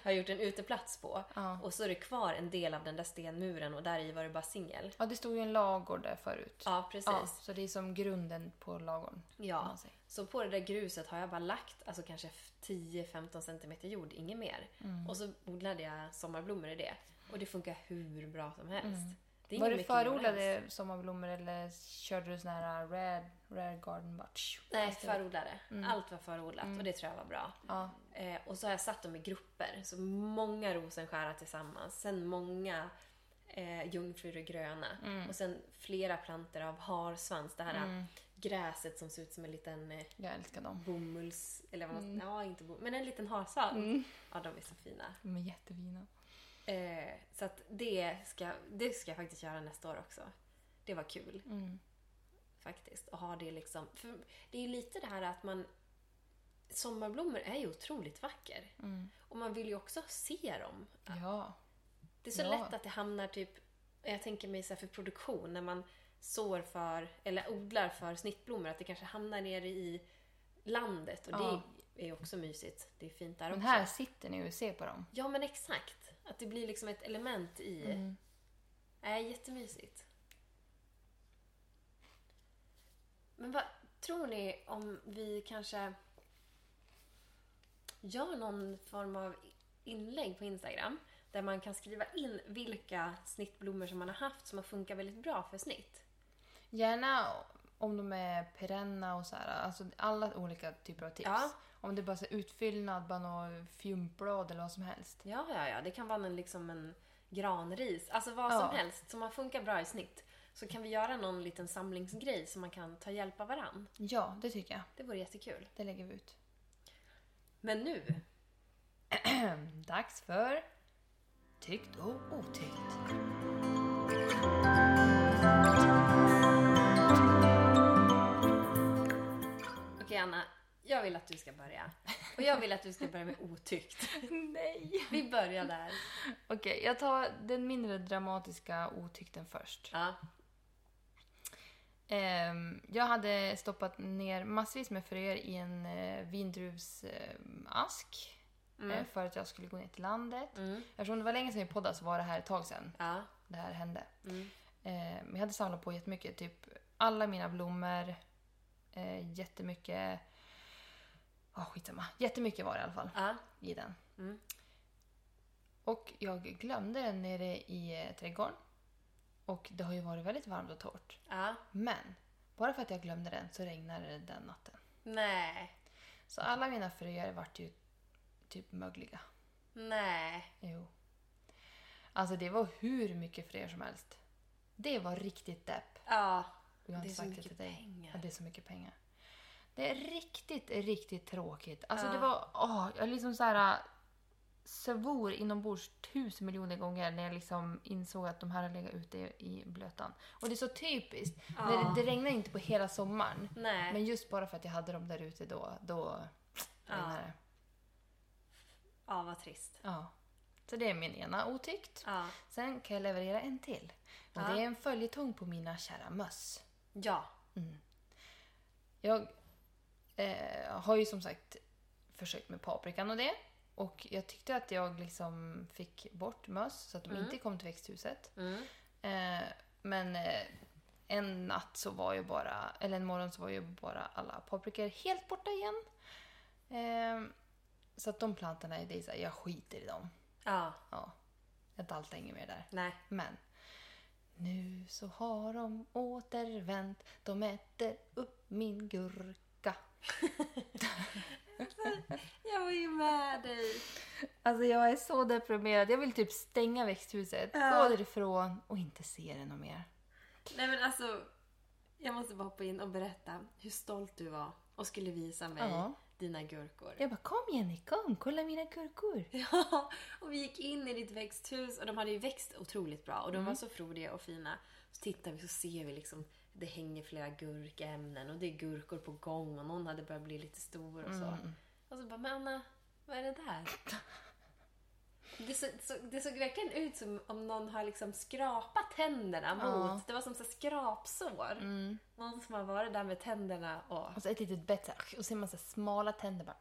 B: har gjort en uteplats på.
A: Ja.
B: Och så är det kvar en del av den där stenmuren och där i var det bara singel.
A: Ja, det stod ju en lagård där förut.
B: Ja, precis.
A: Ja, så det är som grunden på lagorn. kan
B: Ja,
A: man säga.
B: så på det där gruset har jag bara lagt alltså kanske f- 10-15 centimeter jord, inget mer.
A: Mm.
B: Och så odlade jag sommarblommor i det. Och det funkar hur bra som helst. Det är
A: Mm. Var
B: ingen
A: du
B: mycket jord alls.
A: förodlade sommarblommor eller körde du sån här rare, rare garden bara... tsch,
B: Nej,
A: fast det-
B: förodlade.
A: Mm.
B: Allt var förodlat och det tror jag var bra.
A: Ja.
B: Eh, och så har jag satt dem i grupper. Så många rosenskära tillsammans. Sen många eh, jungfrur och gröna.
A: Mm.
B: Och sen flera planter av harsvans. Det här gräset som ser ut som en liten eh,
A: Jag älskar dem.
B: bomulls... Eller vad man,
A: Mm.
B: Ja, inte bomulls, men en liten harsvans. Ja, de är så fina.
A: De är jättefina.
B: Eh, så att det ska, det ska jag faktiskt göra nästa år också. Det var kul.
A: Mm.
B: Faktiskt. Och ha det liksom... För det är ju lite det här att man... Sommarblommor är ju otroligt vacker. Och man vill ju också se dem.
A: Mm. Ja.
B: Det är så
A: Ja.
B: lätt att det hamnar typ... Jag tänker mig så här för produktion, när man sår för, eller odlar för snittblommor, att det kanske hamnar nere i landet. Och
A: Ja.
B: det är ju också mysigt. Det är fint där
A: Men
B: också.
A: här sitter ni och ser på dem.
B: Ja, men exakt. Att det blir liksom ett element i...
A: Mm.
B: Äh, jättemysigt. Men vad tror ni om vi kanske gör någon form av inlägg på Instagram där man kan skriva in vilka snittblommor som man har haft som har funkat väldigt bra för snitt.
A: Gärna om de är perenna och så här, alltså alla olika typer av tips.
B: Ja.
A: Om det bara är utfyllnad, bara något fjumpblad eller vad som helst.
B: Ja, ja, ja. Det kan vara en, liksom en granris. Alltså vad som
A: Ja.
B: helst som har funkat bra i snitt. Så kan vi göra någon liten samlingsgrej så man kan ta hjälp av varann.
A: Ja, det tycker jag.
B: Det vore jättekul.
A: Det lägger vi ut.
B: Men nu
A: Dags för Tyckt och otyckt.
B: Okej Anna, jag vill att du ska börja. Och jag vill att du ska börja med otyckt.
A: Nej!
B: Vi börjar där.
A: Okej, jag tar den mindre dramatiska otykten först.
B: Ja.
A: Ehm, jag hade stoppat ner massvis med fröer i en eh, vindruvsask eh, för att jag skulle gå ner till landet.
B: Mm.
A: Eftersom det var länge sedan vi poddade så var det här ett tag sedan
B: Ja.
A: det här hände.
B: Mm.
A: Eh, men jag hade samlat på jättemycket. Typ alla mina blommor. Eh, jättemycket. Ja, skitsamma. Jättemycket var det i alla fall
B: Ja.
A: i den.
B: Mm.
A: Och jag glömde den nere i eh, trädgården. Och det har ju varit väldigt varmt och torrt.
B: Ja.
A: Men bara för att jag glömde den så regnade det den natten.
B: Nej.
A: Så
B: Mm.
A: alla mina fröer vart ju typ mögliga.
B: Nej.
A: Jo. Alltså det var hur mycket fröer som helst. Det var riktigt depp.
B: Ja.
A: Och Jag har
B: Det
A: inte
B: är så
A: sagt det till
B: mycket
A: dig.
B: pengar.
A: Ja, det är så mycket pengar. Det är riktigt, riktigt tråkigt. Alltså
B: Ja.
A: det var, åh, jag liksom så här äh, svor inombords tusen miljoner gånger när jag liksom insåg att de här har legat ute i blötan. Och det är så typiskt.
B: Ja.
A: När det, det regnar inte på hela sommaren.
B: Nej.
A: Men just bara för att jag hade dem där ute då, då regnade det.
B: Ja, vad trist.
A: Ja. Så det är min ena otykt.
B: Ja.
A: Sen kan jag leverera en till. Och
B: Ja.
A: det är en följetong på mina kära möss.
B: Ja.
A: Jag eh, har ju som sagt försökt med paprikan och det. Och jag tyckte att jag liksom fick bort möss så att de inte kom till växthuset.
B: Mm.
A: Eh, men eh, en natt så var ju bara, eller en morgon så var ju bara alla paprikor helt borta igen. Eh, så att de plantorna, det är så här, jag skiter i dem.
B: Ja.
A: Ja, jag daltar inget mer där.
B: Nej.
A: Men nu så har de återvänt. De äter upp min gurka.
B: Jag var ju med dig.
A: Alltså jag är så deprimerad. Jag vill typ stänga växthuset,
B: Ja.
A: gå därifrån och inte se det något mer.
B: Nej men alltså, jag måste bara hoppa in och berätta hur stolt du var och skulle visa mig
A: Ja.
B: dina gurkor.
A: Jag bara kom Jenny, kom kolla mina gurkor.
B: Ja, och vi gick in i ditt växthus och de hade ju växt otroligt bra och de
A: Mm.
B: var så frodiga och fina. Så tittar vi så ser vi liksom det hänger flera gurkämnen och det är gurkor på gång och någon hade börjat bli lite stor och så.
A: Mm.
B: Och så bara, men Anna, vad är det där? Det, så, så, det såg verkligen ut som om någon har liksom skrapat tänderna mot.
A: Ja. Mm.
B: Det var som så här skrapsår. Någon som har varit där med tänderna och...
A: Och så ett litet bett så här, och så ser man så här smala tänder bara.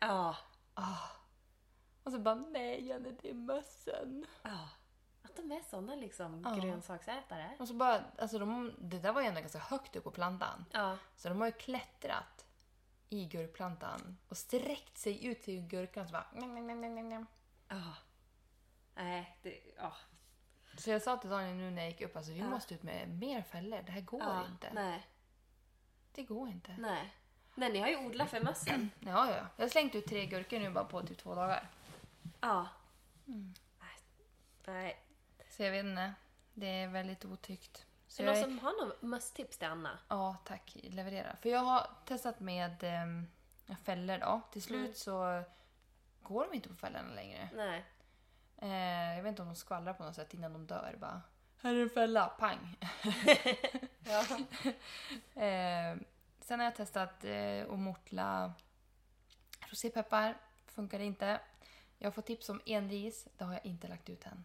B: Ja,
A: Och så bara nej Jenny det är mössen.
B: ja. Att de är såna liksom
A: Ja.
B: grönsaksätare.
A: Och så bara, alltså de, det där var ju ändå ganska högt upp på plantan.
B: Ja.
A: Så de har ju klättrat i gurkplantan och sträckt sig ut till gurkan. Så, bara, "Njam, njam, njam, njam, njam."
B: Ja. Nej, det... Ja.
A: så jag sa till Daniel nu när jag gick upp, alltså, vi
B: Ja.
A: måste ut med mer fällor. Det här går
B: ja.
A: inte.
B: Nej.
A: Det går inte.
B: Nej. Nej, ni har ju odlat för mössen.
A: Ja, ja. Jag har slängt ut tre gurkor nu bara på typ två dagar.
B: Ja.
A: Mm.
B: Nej. Nej.
A: Så jag vet inte. Det är väldigt otyckt. Så
B: Är det någon
A: jag,
B: som har någon mösstips till Anna?
A: Ja, tack. Leverera. För jag har testat med ehm, fällor då. Till slut
B: Mm.
A: så går de inte på fällorna längre.
B: Nej.
A: Eh, jag vet inte om de skvallrar på något sätt innan de dör. Bara, här är en fälla, pang!
B: Ja.
A: Eh, sen har jag testat eh, att mortla rosépeppar. Funkar inte. Jag har fått tips om enris. Det har jag inte lagt ut än.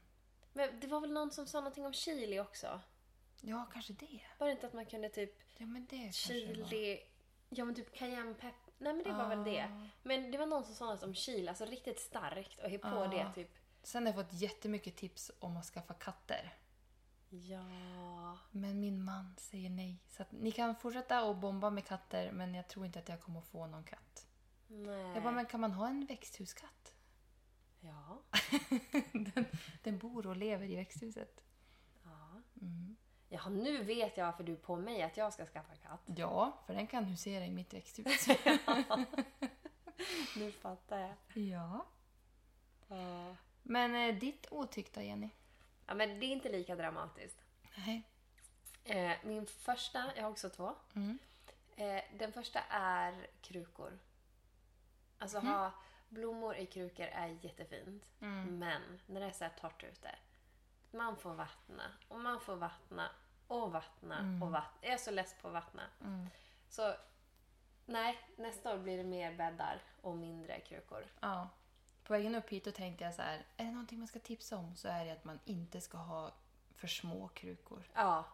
B: Men det var väl någon som sa någonting om chili också?
A: Ja, kanske det.
B: Var det inte att man kunde typ
A: Ja, men det kanske det var.
B: chili... Ja men typ cayennepepp... Nej men det var väl
A: Ah.
B: det. Men det var någon som sa något om chili, alltså riktigt starkt och hej på
A: Ja.
B: det typ.
A: Sen har jag fått jättemycket tips om att skaffa katter.
B: Ja.
A: Men min man säger nej. Så att ni kan fortsätta att bomba med katter men jag tror inte att jag kommer att få någon katt.
B: Nej.
A: Jag bara, men kan man ha en växthuskatt?
B: Ja.
A: den, den bor och lever i växthuset.
B: ja.
A: Mm.
B: Jaha, nu vet jag varför du är på mig att jag ska skaffa katt.
A: Ja, för den kan husera i mitt växthus.
B: Nu fattar jag.
A: ja.
B: Ja.
A: Men eh, ditt otyckta, Jenny?
B: Ja, men det är inte lika dramatiskt.
A: Nej.
B: Eh, min första, jag har också två.
A: Mm.
B: Eh, den första är krukor. Alltså ha blommor i krukor är jättefint. Men när det är så här torrt ute. Man får vattna och man får vattna och vattna och vattna. Jag är så less på att vattna. Så nej, nästa år blir det mer bäddar och mindre krukor.
A: Ja. På vägen upp hit då tänkte jag så här, är det någonting man ska tipsa om så är det att man inte ska ha för små krukor.
B: Ja,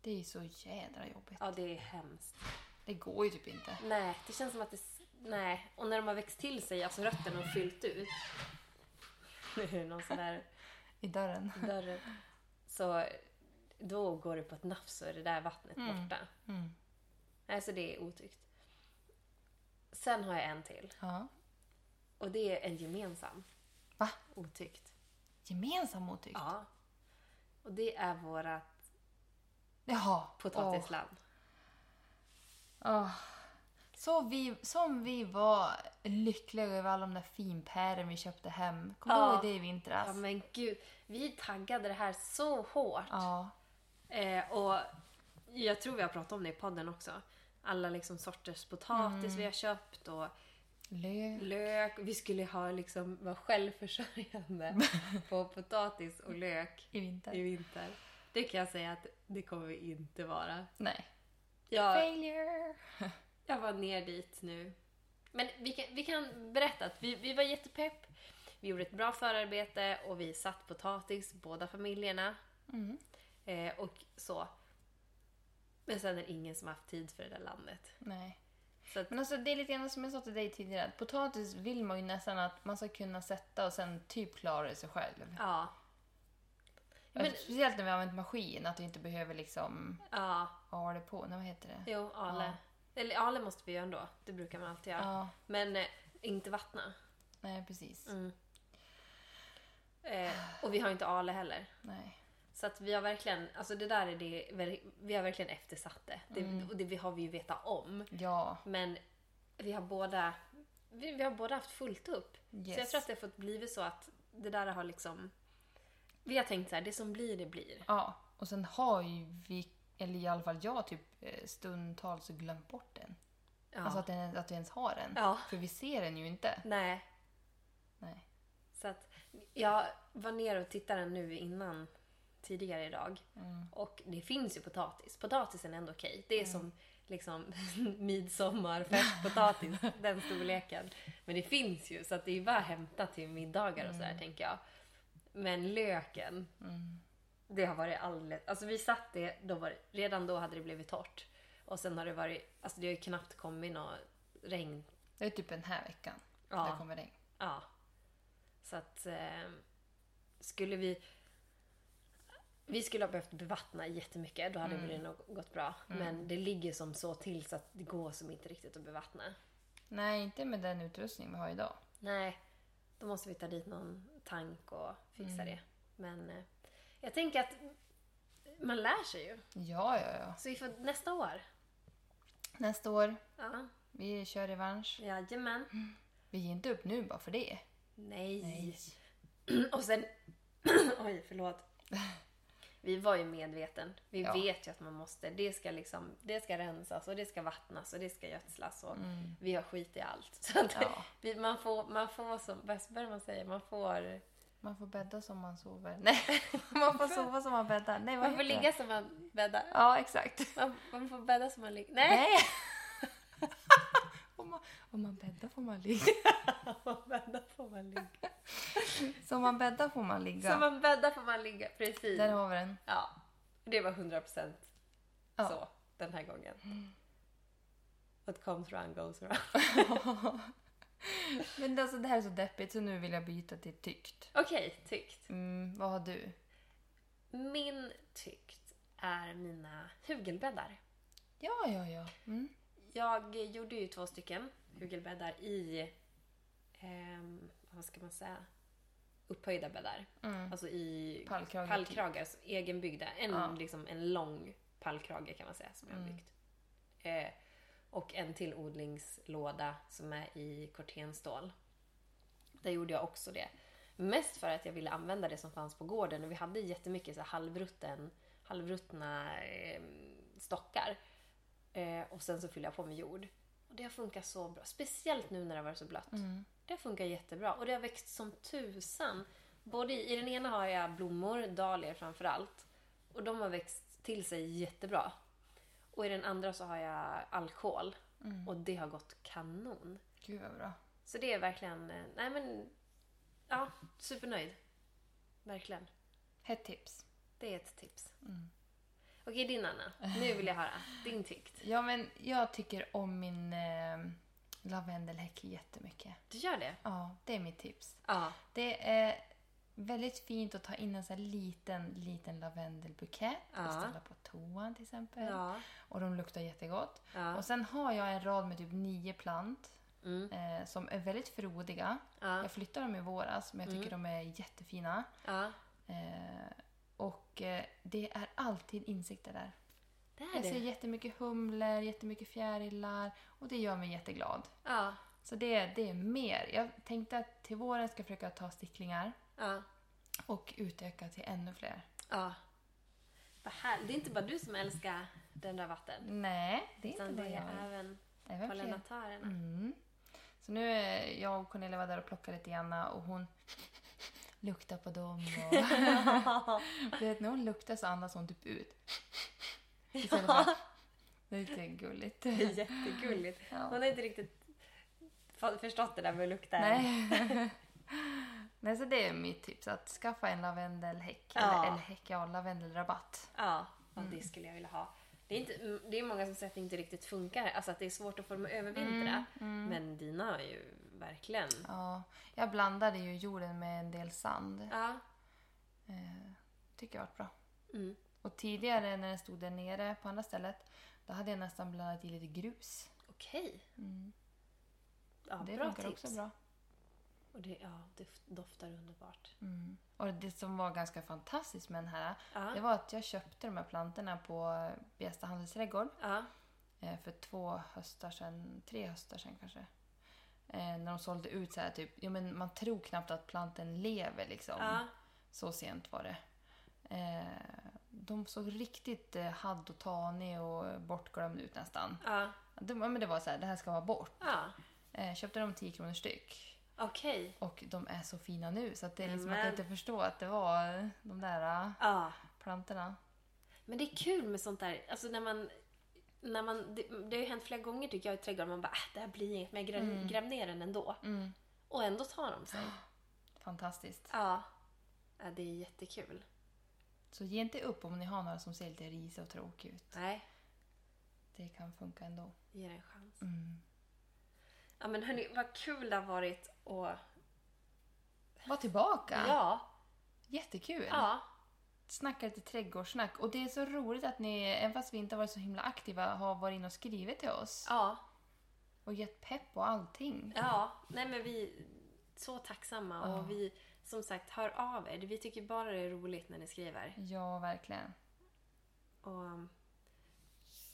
A: Det är ju så jädra jobbigt.
B: ja det är hemskt.
A: Det går ju typ inte.
B: Nej, det känns som att det... s- Nej, och när de har växt till sig, alltså rötterna och fyllt ut. Nu är det någon sån där
A: I dörren.
B: dörren. Så då går det på ett nafs och är det där vattnet borta.
A: Mm.
B: Nej, så det är otyckt. Sen har jag en till.
A: Ja.
B: Och det är en gemensam
A: Va?
B: otyckt.
A: Gemensam otykt?
B: Ja. Och det är vårat
A: Jaha. Åh.
B: potatisland.
A: Åh. Så vi, som vi var lyckliga över alla de där finpären vi köpte hem. Kommer
B: Ja.
A: du ihåg det i vintras?
B: Ja men gud, vi taggade det här så hårt.
A: alltså. Ja.
B: Eh, och jag tror vi har pratat om det i podden också. Alla liksom sorters potatis vi har köpt och
A: Löv.
B: lök. Vi skulle ha liksom vara självförsörjande på potatis och lök
A: I vinter.
B: i vinter. Det kan jag säga att det kommer vi inte vara.
A: Nej.
B: Jag,
A: Failure!
B: jag var ner dit nu. Men vi kan, vi kan berätta att vi, vi var jättepepp. Vi gjorde ett bra förarbete och vi satt potatis, båda familjerna.
A: Mm.
B: Eh, och så. Men sen är det ingen som har haft tid för det där landet.
A: Nej.
B: Så att,
A: Men alltså det är lite grann som jag sa till dig tidigare. Att potatis vill man ju nästan att man ska kunna sätta och sen typ klara det sig själv.
B: ja. Men,
A: Alltså, Speciellt när vi har använt maskin, att du inte behöver liksom
B: ja,
A: ha det på. Nej, vad heter det?
B: jo, Ale. Eller Ale måste vi göra ändå. Det brukar man alltid göra.
A: Ja.
B: Men eh, inte vattna. Mm.
A: Nej, precis.
B: Eh, och vi har inte Ale heller.
A: Nej.
B: Så att vi har verkligen, alltså det där är det, ver- vi har verkligen eftersatt det. det
A: Mm.
B: Och det vi har vi ju vetat om.
A: Ja.
B: Men vi har båda, vi, vi har båda haft fullt upp. Så jag
A: Yes.
B: tror att det har fått blivit så att det där har liksom, vi har tänkt så här, det som blir det blir.
A: Ja. Och sen har ju vi, eller i alla fall jag, typ eh, stundtals glömt bort den.
B: Ja.
A: Alltså att, den, att vi ens har den.
B: Ja.
A: För vi ser den ju inte.
B: Nej.
A: Nej.
B: Så att jag var ner och tittade nu innan, tidigare idag. Och det finns ju potatis. Potatisen är ändå okej. Det är som liksom midsommar, färskpotatis, den storleken. Men det finns ju, så att det är bara att hämta till middagar och sådär tänker jag. Men löken,
A: Mm.
B: det har varit alldeles... Alltså vi satt det, då var det, redan då hade det blivit torrt. Och sen har det varit, alltså det har ju knappt kommit något regn.
A: Det är typ den här veckan.
B: Ja.
A: Där kommer regn.
B: Ja. Så att eh, skulle vi... Vi skulle ha behövt bevattna jättemycket, då hade det nog gått bra. Men det ligger som så till så att det går som inte riktigt att bevattna.
A: Nej, inte med den utrustning vi har idag.
B: Nej, då måste vi ta dit någon tank och fixa det. Men eh, jag tänker att man lär sig ju.
A: Ja, ja, ja.
B: Så vi får nästa år.
A: Nästa år,
B: Ja,
A: vi kör revansch.
B: jajamän.
A: Vi ger inte upp nu bara för det.
B: Nej. Och sen... Oj, förlåt. Vi var ju medveten. Vi
A: Ja.
B: vet ju att man måste. Det ska, liksom, det ska rensas och det ska vattnas och det ska gödslas. Och Vi har skit i allt. Så att
A: Mm. Ja.
B: vi, man, får, man får, som Westberg man säger, man får,
A: Man får bädda som man sover. Nej, man får sova som man bäddar. Nej, vad
B: man får
A: heter det?
B: ligga som man bäddar.
A: Ja, exakt.
B: Man, man får bädda som man ligger. Nej!
A: Nej! om, man, om man bäddar får man ligga.
B: man bäddar får man ligga.
A: Som man bäddar får man ligga.
B: Som man bäddar får man ligga. Precis.
A: Där har vi den.
B: Ja. Det var 100%
A: Ja.
B: så den här gången. What comes around goes around.
A: Men alltså, det här är så deppigt så nu vill jag byta till tyckt.
B: Okej, tyckt.
A: Mm, vad har du?
B: Min tyckt är mina hugelbäddar.
A: Ja, ja, ja. Mm.
B: Jag gjorde ju två stycken hugelbäddar i ehm, vad ska man säga, upphöjda bäddar.
A: Mm.
B: Alltså i
A: Pallkragar.
B: pallkragar, så egenbyggda. En,
A: Ja.
B: liksom, en lång pallkrage kan man säga som jag har byggt. Eh, och en till odlingslåda som är i kortenstål. Där gjorde jag också det. Mest för att jag ville använda det som fanns på gården och vi hade jättemycket så här halvrutten, halvruttna eh, stockar. Eh, och sen så fyllde jag på med jord. Och det har funkat så bra. Speciellt nu när det har varit så blött. Det funkar jättebra och det har växt som tusan. Både i, I den ena har jag blommor, dahlior framför allt. Och de har växt till sig jättebra. Och i den andra så har jag alkohol. Och det har gått kanon.
A: Mm. Gud vad bra.
B: Så det är verkligen, eh, nej men, ja, supernöjd. Verkligen.
A: Hett tips.
B: Det är ett tips. Okej, din Anna. Nu vill jag höra din tykt.
A: Ja, men jag tycker om min eh, lavendelhäck jättemycket.
B: Du gör det?
A: Ja, det är mitt tips.
B: Ja.
A: Det är väldigt fint att ta in en sån här liten, liten lavendelbukett
B: Ja.
A: och ställa på toan till exempel.
B: Ja.
A: Och de luktar jättegott.
B: Ja.
A: Eh. Och sen har jag en rad med typ nio plant
B: Mm.
A: eh, som är väldigt frodiga.
B: Ja. Mm.
A: Jag flyttade dem i våras men jag tycker de är jättefina.
B: ja.
A: Eh, och eh, det är alltid insekter där.
B: Det är
A: Jag ser
B: det.
A: jättemycket humlor, jättemycket fjärilar och det gör mig jätteglad.
B: Ja.
A: Så det, det är mer. Jag tänkte att till våren ska jag försöka ta sticklingar
B: Ja.
A: och utöka till ännu fler.
B: Ja. Vad härligt. Det är inte bara du som älskar den där vatten.
A: Nej, det är inte
B: Utan det
A: bara jag.
B: är även
A: Även fler.
B: pollinatörerna.
A: Mm. Så nu är jag och Cornelia var där och plockade lite grann och hon luktar på dem och... Du vet, när hon luktar så andas hon typ ut. Istället för... att- Det är lite gulligt.
B: Det är jättegulligt.
A: Ja.
B: Hon har inte riktigt fa- förstått det där med lukten.
A: Nej. Nej, så det är mitt tips. Att skaffa en lavendelhäck.
B: Ja.
A: Eller, eller häck, ja, lavendelrabatt.
B: Ja, Mm. och det skulle jag vilja ha. Det är, inte, mm, det är många som säger att det inte riktigt funkar. Alltså att det är svårt att få dem att övervintra. Men dina har ju verkligen...
A: Ja. Jag blandade ju jorden med en del sand.
B: Ja.
A: Eh, tycker jag varit bra.
B: Mm.
A: Och tidigare när den stod där nere på andra stället, då hade jag nästan blandat i lite grus.
B: Okej.
A: Mm.
B: Ja,
A: det
B: bra
A: funkar
B: tips.
A: också bra.
B: Och det, ja, det doftar underbart.
A: Mm. Och det som var ganska fantastiskt med den här,
B: Ja.
A: det var att jag köpte de här plantorna på Bjästa handelsträdgård
B: Ja.
A: eh, för två höstar sedan, tre höstar sedan kanske. Eh, när de sålde ut så här typ, ja men man tror knappt att planten lever liksom.
B: Ja.
A: Så sent var det. Eh, de såg riktigt eh, hadd och tanig och bortglömd ut nästan.
B: Ja.
A: De, ja, men det var så här, det här ska vara bort.
B: ja.
A: Eh, köpte de 10 kronor styck.
B: Okej.
A: Och de är så fina nu så att det är liksom att
B: Amen.
A: jag inte förstår att det var eh, de där eh,
B: Ja.
A: plantorna.
B: Men det är kul med sånt där, alltså när man... När man det, det har ju hänt flera gånger tycker jag i trädgården, man bara äh, det här blir inget, men jag gräv, gräv ner den ändå.
A: Mm.
B: Och ändå tar de sig.
A: Fantastiskt.
B: Ja. ja det är jättekul.
A: Så ge inte upp om ni har några som ser lite risiga och tråkiga ut.
B: Nej,
A: Det kan funka ändå.
B: ge det en chans.
A: Mm.
B: Ja men hörni, vad kul det har varit och...
A: Var tillbaka!
B: Ja.
A: Jättekul!
B: Ja.
A: Snacka lite trädgårdssnack. Och det är så roligt att ni, även fast vi inte har varit så himla aktiva, har varit inne och skrivit till oss.
B: Ja.
A: Och gett pepp och allting.
B: Ja. Nej men vi är så tacksamma
A: Ja.
B: och vi, som sagt, hör av er. Vi tycker bara det är roligt när ni skriver.
A: Ja, verkligen.
B: Och um,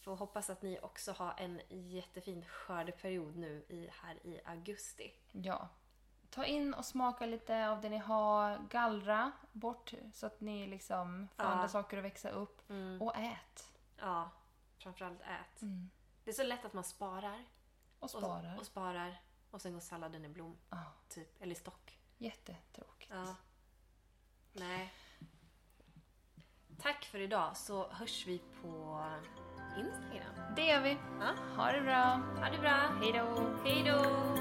B: får hoppas att ni också har en jättefin skördeperiod nu i, här i augusti.
A: Ja. Ta in och smaka lite av det ni har. Gallra bort så att ni liksom får
B: Ja.
A: andra saker att växa upp. Och ät.
B: Ja, framförallt ät. Det är så lätt att man sparar
A: Och
B: och
A: sparar.
B: och, sparar, och sen går salladen i blom.
A: Ja.
B: Typ, eller i stock.
A: Jättetråkigt.
B: Ja. Nej. Tack för idag så hörs vi på Instagram.
A: Det gör vi.
B: Ja.
A: Ha det bra.
B: Ha det bra.
A: Hej då.
B: Hej då!